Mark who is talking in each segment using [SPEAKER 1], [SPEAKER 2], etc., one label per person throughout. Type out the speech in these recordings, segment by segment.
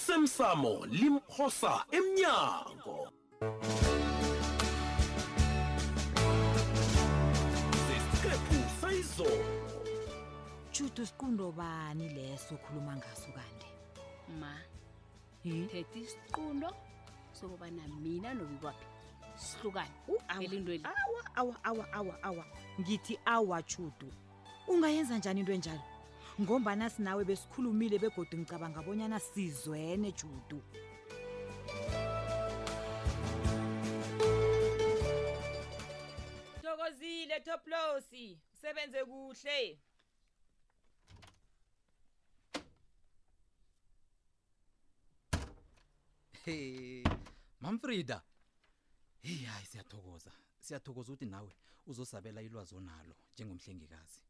[SPEAKER 1] osemsamo limphosa emnyango zesiqephu sayizolo
[SPEAKER 2] Chutu isiqundo bani leso ukhuluma ngaso kanti?
[SPEAKER 3] ma
[SPEAKER 2] Hmm?
[SPEAKER 3] thetha isiqundo sokubana mina nobikwaphi sihlukane elinto eli
[SPEAKER 2] Awa awa awa awa awa. Ngithi awa Chutu. Ungayenza njani into enjalo? Ngombana sinawe besikhulumile begodi ngicabanga bonyana sizwene Chutu.
[SPEAKER 4] Thokozile Toplosi, sebenze kuhle.
[SPEAKER 5] Hey, Mamfrida. Hey, hayi siyathokoza. Siyathokoza ukuthi nawe uzosabela ilwazi onalo njengomhlengikazi.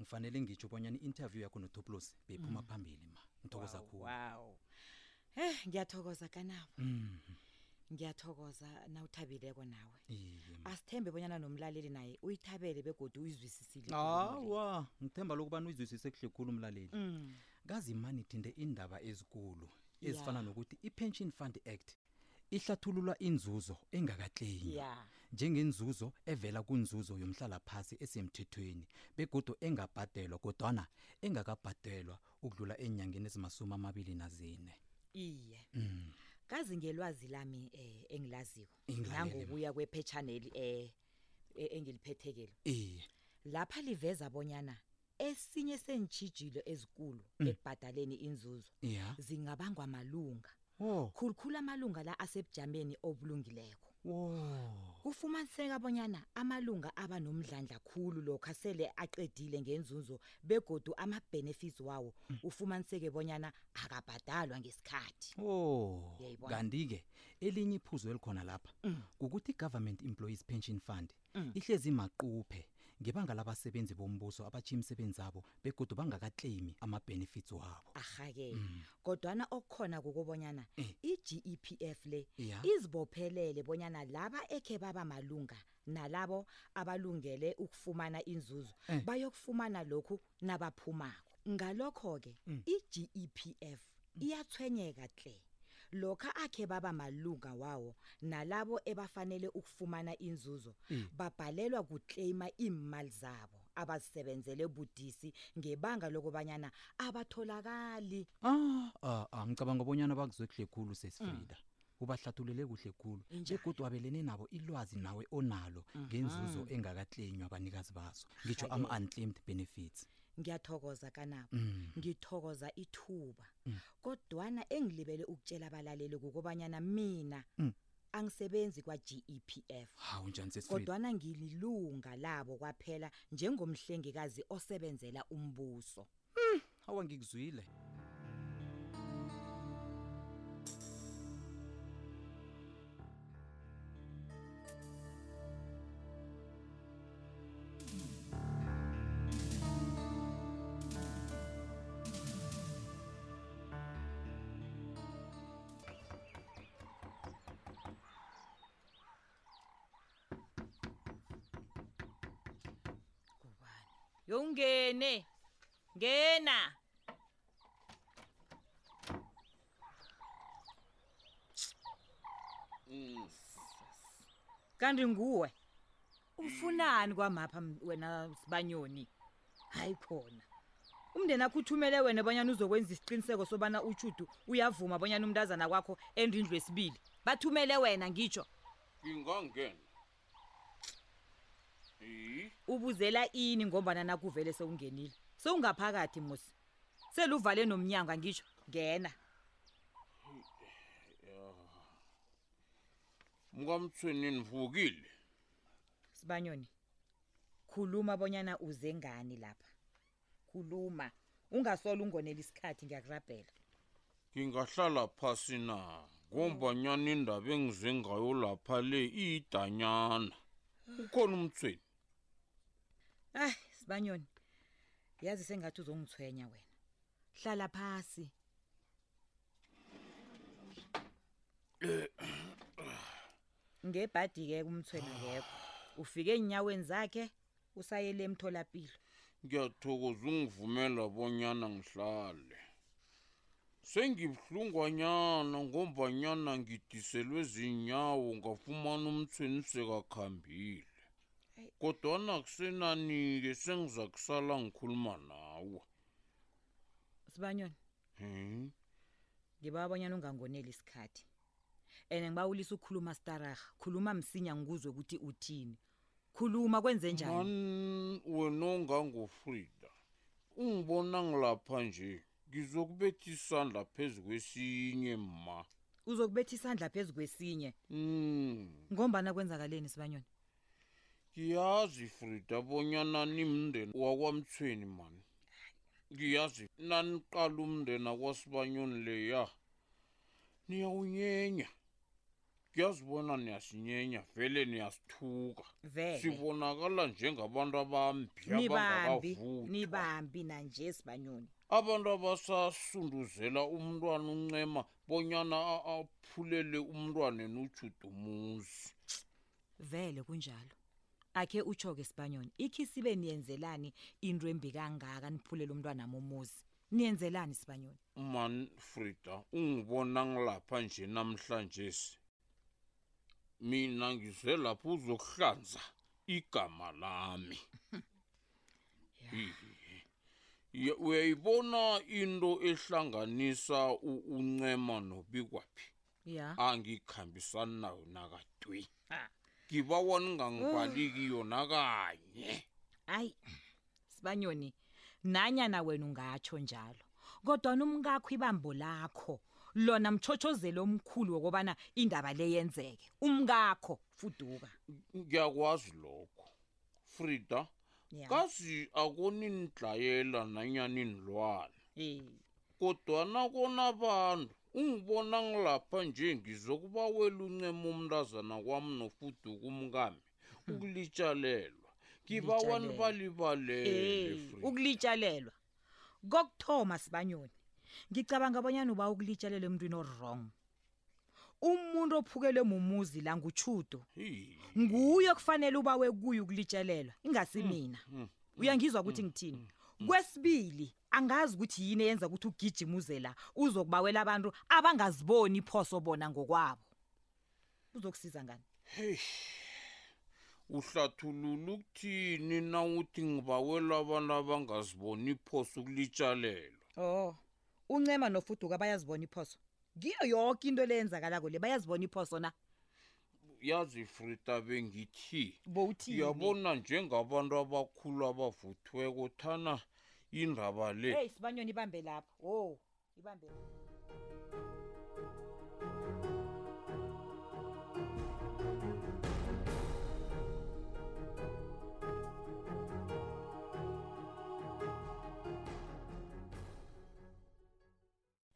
[SPEAKER 5] Ngifanele ngitsho bonyana i-interview yakho noToplos beyiphuma phambili ma. Ngithokoza khulu.
[SPEAKER 4] Wow.
[SPEAKER 2] Eh ngiyathokoza kanabo.
[SPEAKER 5] Mhm.
[SPEAKER 2] Ngiyathokoza nawuthabileko nawe.
[SPEAKER 5] Iye. ma.
[SPEAKER 2] Asithembe bonyana nomlaleli naye uyithabele begodi uyizwisisile.
[SPEAKER 5] Awa, ngithemba lokubani uyizwisise kuhle khulu umlaleli.
[SPEAKER 2] Mm.
[SPEAKER 5] Kazi mani thinde indaba ezikulu
[SPEAKER 2] Yeah.
[SPEAKER 5] ezifana nokuthi iPension Fund Act ihlathulula inzuzo engakakleyimi.
[SPEAKER 2] Yeah.
[SPEAKER 5] njengenzuzo evela kunzuzo yomhlalaphasi esemthethweni begodu engabhadelwa kodwana engakabhadelwa ukudlula enyangeni ezimasumi amabili nazine Mm.
[SPEAKER 2] Iye. Kazi ngelwazi lami eh engilaziko.
[SPEAKER 5] Ingilalele.
[SPEAKER 2] Nangokuya kwephetchaneli eh e- engiliphethekelo.
[SPEAKER 5] iye
[SPEAKER 2] Lapha liveza bonyana esinye senjijilo ezikulu ekubhadaleni inzuzo
[SPEAKER 5] ya
[SPEAKER 2] zingabangwa malunga.
[SPEAKER 5] wo
[SPEAKER 2] Khulukhulu amalunga la asebujameni obulungileko.
[SPEAKER 5] wo
[SPEAKER 2] Kufumaniseka bonyana amalunga aba nomdlandla khulu lokho asele aqedile ngenzuzo begodu ama-benefits wawo ufumaniseke bonyana akabhadalwa ngesikhathi.
[SPEAKER 5] Oh,
[SPEAKER 2] Uyayibona?
[SPEAKER 5] kanti-ke elinye iphuzo elikhona lapha kukuthi i-government employees pension fund ihlezi maquphe ngebanga labasebenzi bombuso abatshiya imisebenzi zabo begodu bangakakleyimi ama-benefits wabo
[SPEAKER 2] ahake kodwana okukhona kukubonyana
[SPEAKER 5] Eh.
[SPEAKER 2] i-GEPF le
[SPEAKER 5] Ya.
[SPEAKER 2] izibophelele bonyana laba ekhe baba malunga nalabo abalungele ukufumana inzuzo
[SPEAKER 5] Eh.
[SPEAKER 2] bayokufumana lokhu nabaphumako ngalokho-ke
[SPEAKER 5] Mm.
[SPEAKER 2] E i-GEPF iyathwenyeka hle lokha akhe baba malunga wawo nalabo ebafanele ukufumana inzuzo
[SPEAKER 5] Mm.
[SPEAKER 2] babhalelwa kukleyima iimali zabo abazisebenzele budisi ngebanga lokubanyana abatholakali
[SPEAKER 5] Ah, ah, ah, ngicabanga bonyana bakuzwe kuhle khulu sesifrida ubahlathulele kuhle khulu begodwa abelene nabo ilwazi nawe onalo ngenzuzo engakakleynywa abanikazi bazo ngitsho ama-unclaimed benefits Mm.
[SPEAKER 2] ngiyathokoza kanabo ngithokoza ithuba kodwana engilibele ukutshela abalaleli kokubanyana mina angisebenzi kwa-GEPF
[SPEAKER 5] hawu njani sesifrida
[SPEAKER 2] kodwana ngililunga labo kwaphela njengomhlengikazi osebenzela umbuso
[SPEAKER 5] hawa ngikuzwile
[SPEAKER 2] kubani
[SPEAKER 4] Yongene. Ngena.
[SPEAKER 2] kanti nguwe ufunani kwamapha m- wena sibanyoni hayi khona umndeni akho uthumele wena bonyana uzokwenza isiqiniseko sobana utshudu uyavuma bonyana umntazana kwakho endindlu esibili bathumele wena ngitsho
[SPEAKER 6] ngingangena yi
[SPEAKER 2] ubuzela ini ngombana nakuvele sewungenile sewungaphakathi musi seluvale nomnyango angitsho ngena
[SPEAKER 6] mkamthweni nivukile
[SPEAKER 2] sibanyoni khuluma bonyana uze ngani lapha khuluma ungasola ungonela isikhathi ngiyakurabhela
[SPEAKER 6] ngingahlala phasi na ngombanyana indaba engizwe ngayo lapha le iyidanyana ukhona umthweni
[SPEAKER 2] Ay, Sibanyoni. Yazi sengathi uzongithwenya wena. Hlala phansi. Ngebhadi ke kumthwena kekho. Ufike enyaweni zakhe usayele emtholapilo.
[SPEAKER 6] ngiyathokoza ungivumela bonyana ngihlale sengibuhlungwanyana ngombanyana ngidiselwe zinyawo ngafumana umthweni sekakhambile kodwana kusenani-ke sengiza kusala ngikhuluma nawe
[SPEAKER 2] sibanyoni
[SPEAKER 6] Hmm?
[SPEAKER 2] ngiba abanyana ungangoneli isikhathi and ngiba ulisa ukukhuluma staraha khuluma msinya ngikuzwe ukuthi uthini khuluma kwenze njani
[SPEAKER 6] mani wena ongangofrida ungibona ngilapha nje ngizokubetha isandla phezu kwesinye ma
[SPEAKER 2] uzokubetha isandla phezu kwesinye
[SPEAKER 6] Mm,
[SPEAKER 2] ngombana kwenzakaleni sibanyoni
[SPEAKER 6] ngiyazi frida bonyana nimndeni wakwamthweni mani ngiyazi naniqala umndeni akwasibanyoni leya niyawunyenya ngiyazibona niyasinyenya vele niyasithuka
[SPEAKER 2] vele
[SPEAKER 6] sibonakala njengabantu abambi
[SPEAKER 2] nibambi
[SPEAKER 6] abangakavuthwa
[SPEAKER 2] nibambi nanje sibanyoni
[SPEAKER 6] abantu abasasunduzela umntwana uncema bonyana a- aphulele umntwana nojudumuzi
[SPEAKER 2] vele kunjalo akhe utsho-ke sibanyoni ikhi sibe niyenzelani into embi kangaka niphulela umntwana momuzi niyenzelani sibanyoni
[SPEAKER 6] mani frida ungibona ngilapha nje namhlanje mina ngize lapho uzokuhlanza igama lami Iye. Ya- uyayibona into ehlanganisa u- uncema nobikwaphi
[SPEAKER 2] ya
[SPEAKER 6] angikhambisani nayo nakadwi
[SPEAKER 2] Ah.
[SPEAKER 6] ngibawa ningangibaliki yona kanye
[SPEAKER 2] hayi sibanyoni nanyana wena ungatsho njalo kodwa nomkakho ibambo lakho lona mtshotshozelo omkhulu wokubana indaba le yenzeke umkakho fuduka
[SPEAKER 6] ngiyakwazi lokho frida
[SPEAKER 2] ya
[SPEAKER 6] kazi akoninidlayela nanyaninilwana kodwana kona abantu ungibona ngilapha nje ngizokuba wela uncema umntazana kwami nofuduka umkami ukulitshalelwa ngibawa
[SPEAKER 2] Ulitshalelwa.
[SPEAKER 6] nibalibalele
[SPEAKER 2] Eh,
[SPEAKER 6] Frida.
[SPEAKER 2] ukulitshalelwa kokuthoma sibanyoni ngicabanga abanyana uba ukulitshalelwa emntwini orong umuntu ophukelwe mumuzi la ngutshudo
[SPEAKER 6] Hi.
[SPEAKER 2] nguye kufanele uba wekuye ukulitshalelwa ingasi mina
[SPEAKER 6] mm,
[SPEAKER 2] uyangizwa ukuthi ngithini kwesibili angazi ukuthi yini eyenza ukuthi ugijimuze la uzokubawela abantu abangaziboni iphoso bona ngokwabo uzokusiza ngani
[SPEAKER 6] uhlathulula ukuthini na uthi ngibawela abantu abangaziboni iphosa ukulitshalelwa
[SPEAKER 2] Oh, uncema nofuduka bayazibona iphoso. Ngiyo yonke into leyenzakalako le bayazibona iphoso na.
[SPEAKER 6] yazi frida bengithi
[SPEAKER 2] Bowuthini?
[SPEAKER 6] yabona njengabantu abakhulu abavuthiweko thana indaba le
[SPEAKER 2] Hey, sibanyoni ibambe lapha. Oh, ibambe.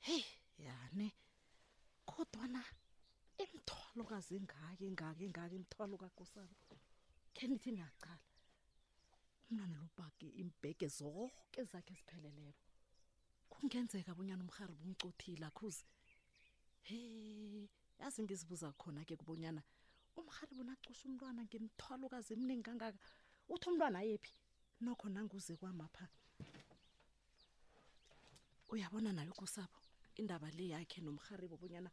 [SPEAKER 7] heyi yani kodwana imithwalo kazingaki ingaki ingaki imithwalo kakosana khe nithi niyacala umnana lobhaki imbhege zonke zakhe zipheleleko kungenzeka bonyana umrhariba umcothile akhuzi he yazi ngizibuza khona ke kubonyana umrhariba unacusha umntwana ngemthwalo kazi emningi kangaka uthi umntwana yephi nokho nanguze kwamapha uyabona nayo kusapho indaba le yakhe nomrharibo bonyana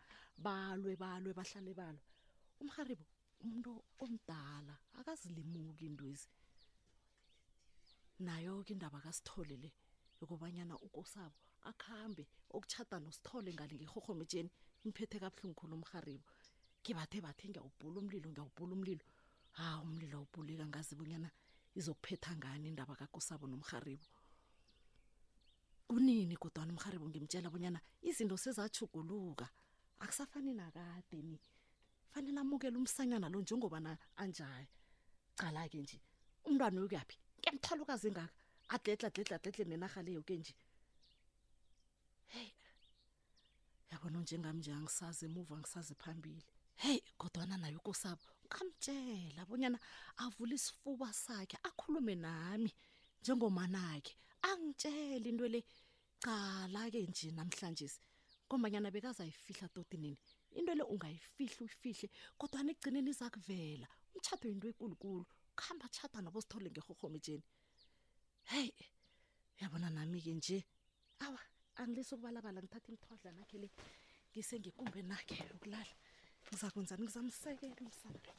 [SPEAKER 7] balwe balwe bahlale balwe umrharibo umuntu omdala akazilimuki intwezi nayo-ke indaba kasithole le yokubanyana ukosabo akuhambe okutshata nosithole ngale ngehorhometsheni imphethe kabuhlungu khulu umrharibo ngibathe bathe ngiyawubhula umlilo ngiyawubhula umlilo ha umlilo awubhuleka ngazi bonyana izokuphetha ngani indaba kakosabo nomrharibo kunini kodwana umrharibo ngimtshela bonyana izinto sezajuguluka akusafani nakade ni fanele amukela umsanyana lo njengobana anjaye cala-ke nje umntwana uyokuyaphi kemthwalukazi engaka adledla adledla adledle nenarha leyo ke nje heyi yabona njengam nje angisazi emuva angisazi phambili heyi kodwana nayo ukosabo ungamtshela bonyana avule isifuba sakhe akhulume nami njengomanakhe angitshele into le cala-ke nje namhlanje ngombanyana bekazayifihla toti nini into le ungayifihli uyifihle kodwana ekugcineni iza kuvela umtshato yinto ekulukulu kuhamba tshata nabo sithole ngerhorhometsheni heyi yabona nami-ke nje awa
[SPEAKER 8] angilesi ukubalabala ngithatha imithwadla nakhe le ngisengikumbe nakhe ukulala ngizakwenza ngizamsekela umsana lo.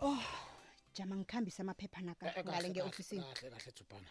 [SPEAKER 2] oh jama ngikhambise amaphepha naka ngale nge-ofisini
[SPEAKER 9] Eh, kahle kahle thubhana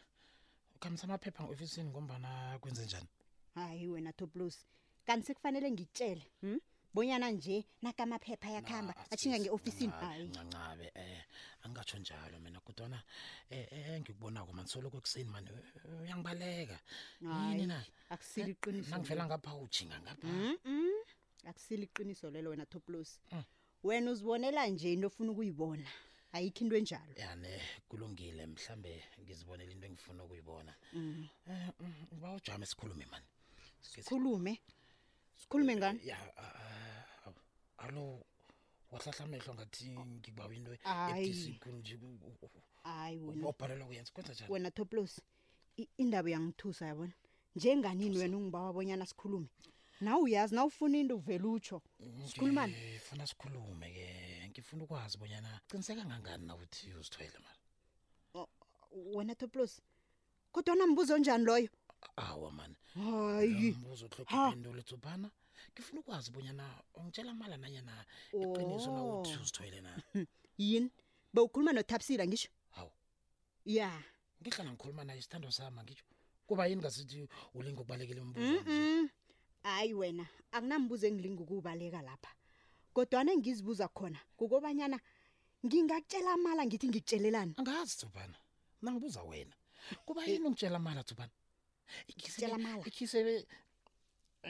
[SPEAKER 9] ukhambisa amaphepha nge-ofisini ngombana kwenze njani
[SPEAKER 2] hayi wena toplos kanti sekufanele ngitshele um bonyana nje nakamaphepha ayakuhamba ashinga nge-ofisini hayi
[SPEAKER 9] ncancabe um angingatsho njalo mina kodwana um engikubonako mani soloko ekuseni mani eh, uyangibaleka yini
[SPEAKER 2] Hayi,
[SPEAKER 9] na
[SPEAKER 2] akusilo
[SPEAKER 9] Eh,
[SPEAKER 2] iqiniso
[SPEAKER 9] nangivela ngapha ujinga ngapha
[SPEAKER 2] Mm-mm. akusilo iqiniso lelo wena toplos
[SPEAKER 9] Mm.
[SPEAKER 2] wena uzibonela nje into ofuna ukuyibona ayikho into enjalo
[SPEAKER 9] yani kulungile mhlambe ngizibonela into engifuna ukuyibona
[SPEAKER 2] Mm.
[SPEAKER 9] um uba ujame sikhulume mani Sikhe si-
[SPEAKER 2] sikhulume sikhulume ngani
[SPEAKER 9] ya ah, ah, awu. alo wahlahla amehlo ngathi ngikubawa into
[SPEAKER 2] Hayi.
[SPEAKER 9] ebudisikunje
[SPEAKER 2] hayi wena
[SPEAKER 9] wabhalelwa kuyenza kwenza njani
[SPEAKER 2] wena toplos i- indaba uyangithusa yabona njenganini wena ungiba wabonyana sikhulume nawe uyazi na ufuna into uvele utsho Sikhulumani?
[SPEAKER 9] ngifuna sikhulume ke ngifuna ukwazi bonyana qiniseka ngangani na ukuthi uzithwele mani
[SPEAKER 2] wena toplos kodwa nambuzo njani loyo
[SPEAKER 9] awa mani
[SPEAKER 2] hayi
[SPEAKER 9] mbuzo
[SPEAKER 2] Ha.
[SPEAKER 9] hloka impendulo tsubhana ngifuna ukwazi bonyana ungitshela mala nanyana iqiniso na uthi
[SPEAKER 2] Oh.
[SPEAKER 9] uzithwele na
[SPEAKER 2] yini bewukhuluma notapsila ngisho
[SPEAKER 9] hawu
[SPEAKER 2] ya
[SPEAKER 9] ngihlala ngikhuluma naye isithando sami angitsho kuba yini ngasithi ulinga ukubalekela umbuzo nje?
[SPEAKER 2] Mm-mm. hayi wena akunambuzo engilinga ukuwubaleka lapha kodwana engizibuza khona kukobanyana ngingakutshela amala ngithi ngikutshelelani
[SPEAKER 9] angazi tsubhana nangibuza wena kuba yini ungitshela mala tsubhana
[SPEAKER 2] Ngitshela amala.
[SPEAKER 9] ikhisele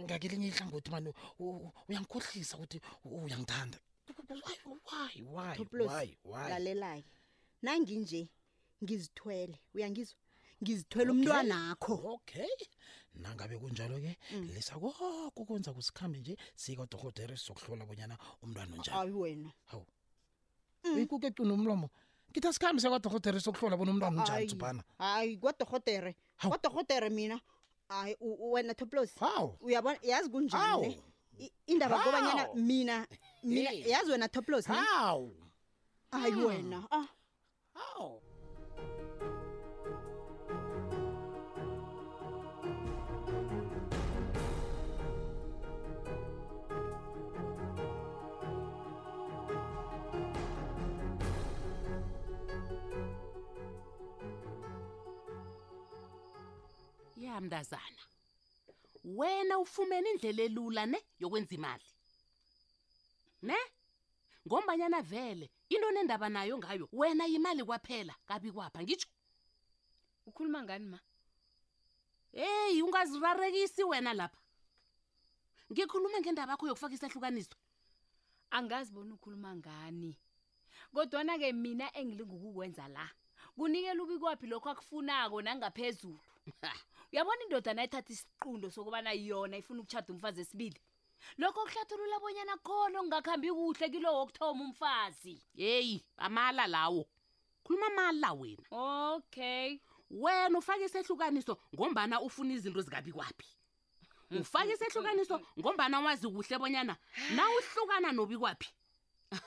[SPEAKER 9] ngakelinye ihlangothi mani u- u- uyangikhohlisa ukuthi u- uyangithanda why why
[SPEAKER 2] Toplos,
[SPEAKER 9] why why
[SPEAKER 2] lalelayo nanginje ngizithwele uyangizwa ngizithwele umntwanakho
[SPEAKER 9] okay nangabe kunjalo-ke lisa koko kwenza kusikhambe nje sikadorhotere sizokuhlola bonyana umntwana onjani
[SPEAKER 2] hayi wena
[SPEAKER 9] hawu uyikuke cuna umlomo ngithi asikhambe sikadorhotere sizokuhlola bona umntwana onjani tsubhana
[SPEAKER 2] hayi kwadorhotere
[SPEAKER 9] Hawu.
[SPEAKER 2] kwadorhotere mina hayi u- u- wena toplos
[SPEAKER 9] hawu
[SPEAKER 2] uyabona yazi kunjani
[SPEAKER 9] hawu
[SPEAKER 2] ne? I- indaba
[SPEAKER 9] Hawu.
[SPEAKER 2] kobanyana mina mina
[SPEAKER 9] Hey.
[SPEAKER 2] yazi wena toplos ne?
[SPEAKER 9] hawu
[SPEAKER 2] hayi wena ah
[SPEAKER 9] hawu
[SPEAKER 7] ya mntazana wena ufumene indlela elula ne yokwenza imali ne ngombanyana vele into nendaba nayo ngayo wena yimali kwaphela kabi kwapha ngitsho
[SPEAKER 10] ukhuluma ngani ma
[SPEAKER 7] heyi ungazirarekisi wena lapha ngikhuluma ngendaba yakho yokufaka isahlukaniswa
[SPEAKER 11] angazi bona ukhuluma ngani kodwana-ke mina engilinga ukukwenza la kunikela ubikwaphi lokho akufunako nangaphezulu uyabona indodana ethatha isiqundo sokubana yona ifuna ukutshada umfazi esibili lokho kuhlathulula bonyana khona okungakhambi kuhle kilowo wokuthoma umfazi
[SPEAKER 7] heyi amala lawo khuluma amala wena
[SPEAKER 11] okay
[SPEAKER 7] wena ufake isehlukaniso ngombana ufuna izinto zikabi kwaphi ufake isehlukaniso ngombana wazi kuhle bonyana nawuhlukana nobi kwaphi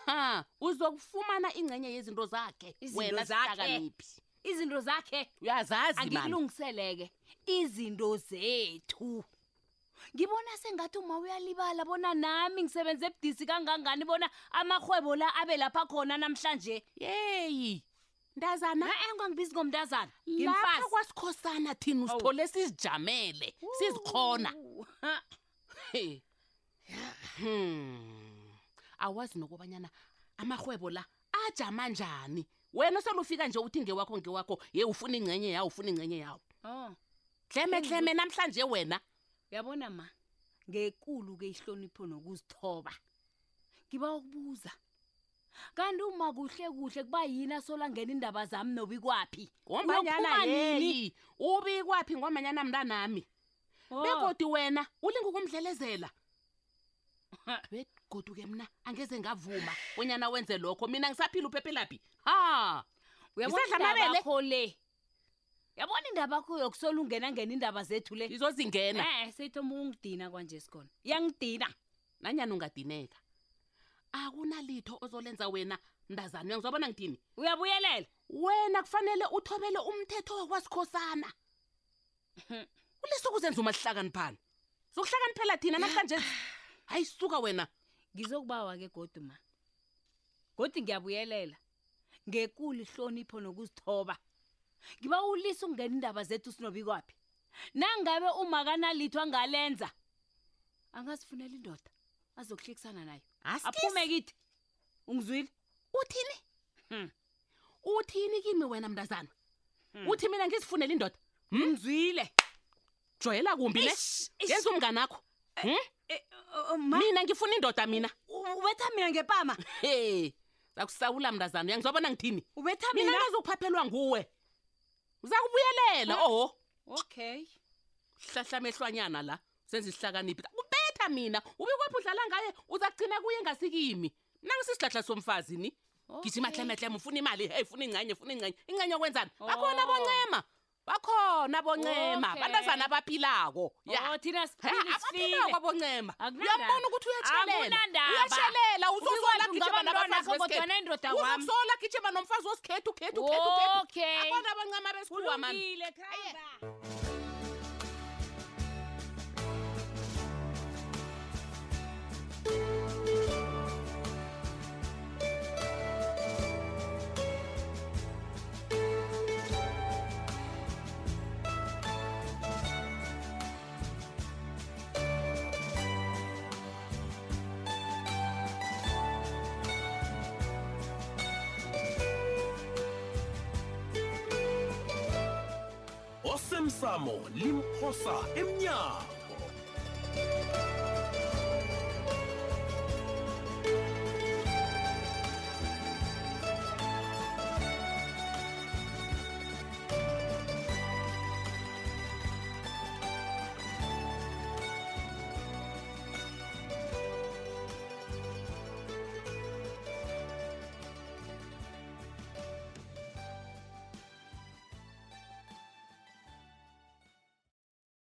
[SPEAKER 7] aha uzokufumana ingcenye yezinto zakhe
[SPEAKER 11] Izinto
[SPEAKER 7] wena
[SPEAKER 11] zakhe.
[SPEAKER 7] sihlakaniphi
[SPEAKER 11] izinto zakhe
[SPEAKER 7] uyazazi man
[SPEAKER 11] angikulungiseleke izinto zethu ngibona sengathi uma uyalibala bona nami ngisebenze ebudisi kangangani bona amarhwebo la abe lapha khona namhlanje
[SPEAKER 7] yeyi ndazana
[SPEAKER 11] na-e ngangibizi ngomntazana
[SPEAKER 7] lapha
[SPEAKER 11] ngimfazi
[SPEAKER 7] kwasikhosana thina usithole sizijamele sizikhona
[SPEAKER 11] Uwu.
[SPEAKER 7] He. Hmm. awazi nokobanyana amarhwebo la ajama njani wena selufika nje uthi ngewakho ngewakho ye ufuna ingcenye yawo ufuna ingcenye yawo
[SPEAKER 11] Oh,
[SPEAKER 7] dleme dleme namhlanje wena
[SPEAKER 11] uyabona ma ngekulu-ke ihlonipho nokuzithoba ngiba ukubuza kanti uma kuhle kuhle kuba yini asolangena indaba zami nobi kwaphi
[SPEAKER 7] ngombanyana
[SPEAKER 11] Uyokuphuma nini?
[SPEAKER 7] yeni ubi kwaphi ngombanyana mntanami
[SPEAKER 11] Oh. Oh.
[SPEAKER 7] begodi wena ulinga ukumdlelezela begoduke mna angeze ngavuma bonyana wenze lokho mina ngisaphila uphephelaphi ha Ngisadla amabele.
[SPEAKER 11] yakho le yabona indaba yakho yokusola ungena ngena indaba zethu le
[SPEAKER 7] izozingena
[SPEAKER 11] eh seyithoma ukungidina kwanje sikhona
[SPEAKER 7] yangidina nanyani ungadineka akunalitho ozolenza wena mntazana uyangizwabona ngithini
[SPEAKER 11] uyabuyelela
[SPEAKER 7] wena kufanele uthobele umthetho wakwasikhosana ulisukuzenza umasihlakaniphana zokuhlakaniphela thina namhlanje hayi suka wena
[SPEAKER 11] ngizokubawa ke godu ma godi ngiyabuyelela ngekulu ihlonipho nokuzithoba ngiba ulisa ukungena indaba zethu sinobikwaphi nangabe umakanalitho angalenza angazifunela indoda azokuhlekisana nayo aphume kithi ungizwile
[SPEAKER 7] uthini uthini kimi wena mntazana uthi mina ngizifunela indoda
[SPEAKER 11] mngizwile
[SPEAKER 7] jwayela kumbi ne
[SPEAKER 11] Eish, eish.
[SPEAKER 7] yenza umnganakho Hmm? mina ngifuna indoda mina
[SPEAKER 11] ubetha mina ngepama
[SPEAKER 7] he zakusawula mntazana uyangizwabona ngithini
[SPEAKER 11] ubetha
[SPEAKER 7] mina
[SPEAKER 11] mina
[SPEAKER 7] ngazokuphaphelwa nguwe uza kubuyelela oho
[SPEAKER 11] okay
[SPEAKER 7] hlahlamehlwanyana la senza isihlakaniphi ubetha mina ubikwephi udlala ngaye uzagcina kuye ngasikimi mna ngisisihlahla somfazi ni gijima
[SPEAKER 11] Okay.
[SPEAKER 7] hlemehlema ufuna imali hey funa ingxenye funa ingxenye ingxenye okwenzani bakhona
[SPEAKER 11] Oh.
[SPEAKER 7] boncema bakhona boncema
[SPEAKER 11] Okay.
[SPEAKER 7] bantazana abaphilako
[SPEAKER 11] oh
[SPEAKER 7] ya
[SPEAKER 11] thina siphile
[SPEAKER 7] abaphilako
[SPEAKER 11] sifile
[SPEAKER 7] aboncema
[SPEAKER 11] Akunandaba.
[SPEAKER 7] uyambona ukuthi uyatshelela
[SPEAKER 11] Akunandaba.
[SPEAKER 7] uyatshelela uzosola
[SPEAKER 11] Ubikwapi
[SPEAKER 7] gijima
[SPEAKER 11] ungaba mntwana
[SPEAKER 7] nabafazi
[SPEAKER 11] wakho, kodwana
[SPEAKER 7] besikhethu
[SPEAKER 11] indoda wami.
[SPEAKER 7] uzosola gijima nomfazi wesikhethu khethu khethu khethu
[SPEAKER 11] okay
[SPEAKER 7] akhona abancema besikhuwa mani
[SPEAKER 11] kulungile khamba
[SPEAKER 9] osemsamo limphosa emnyango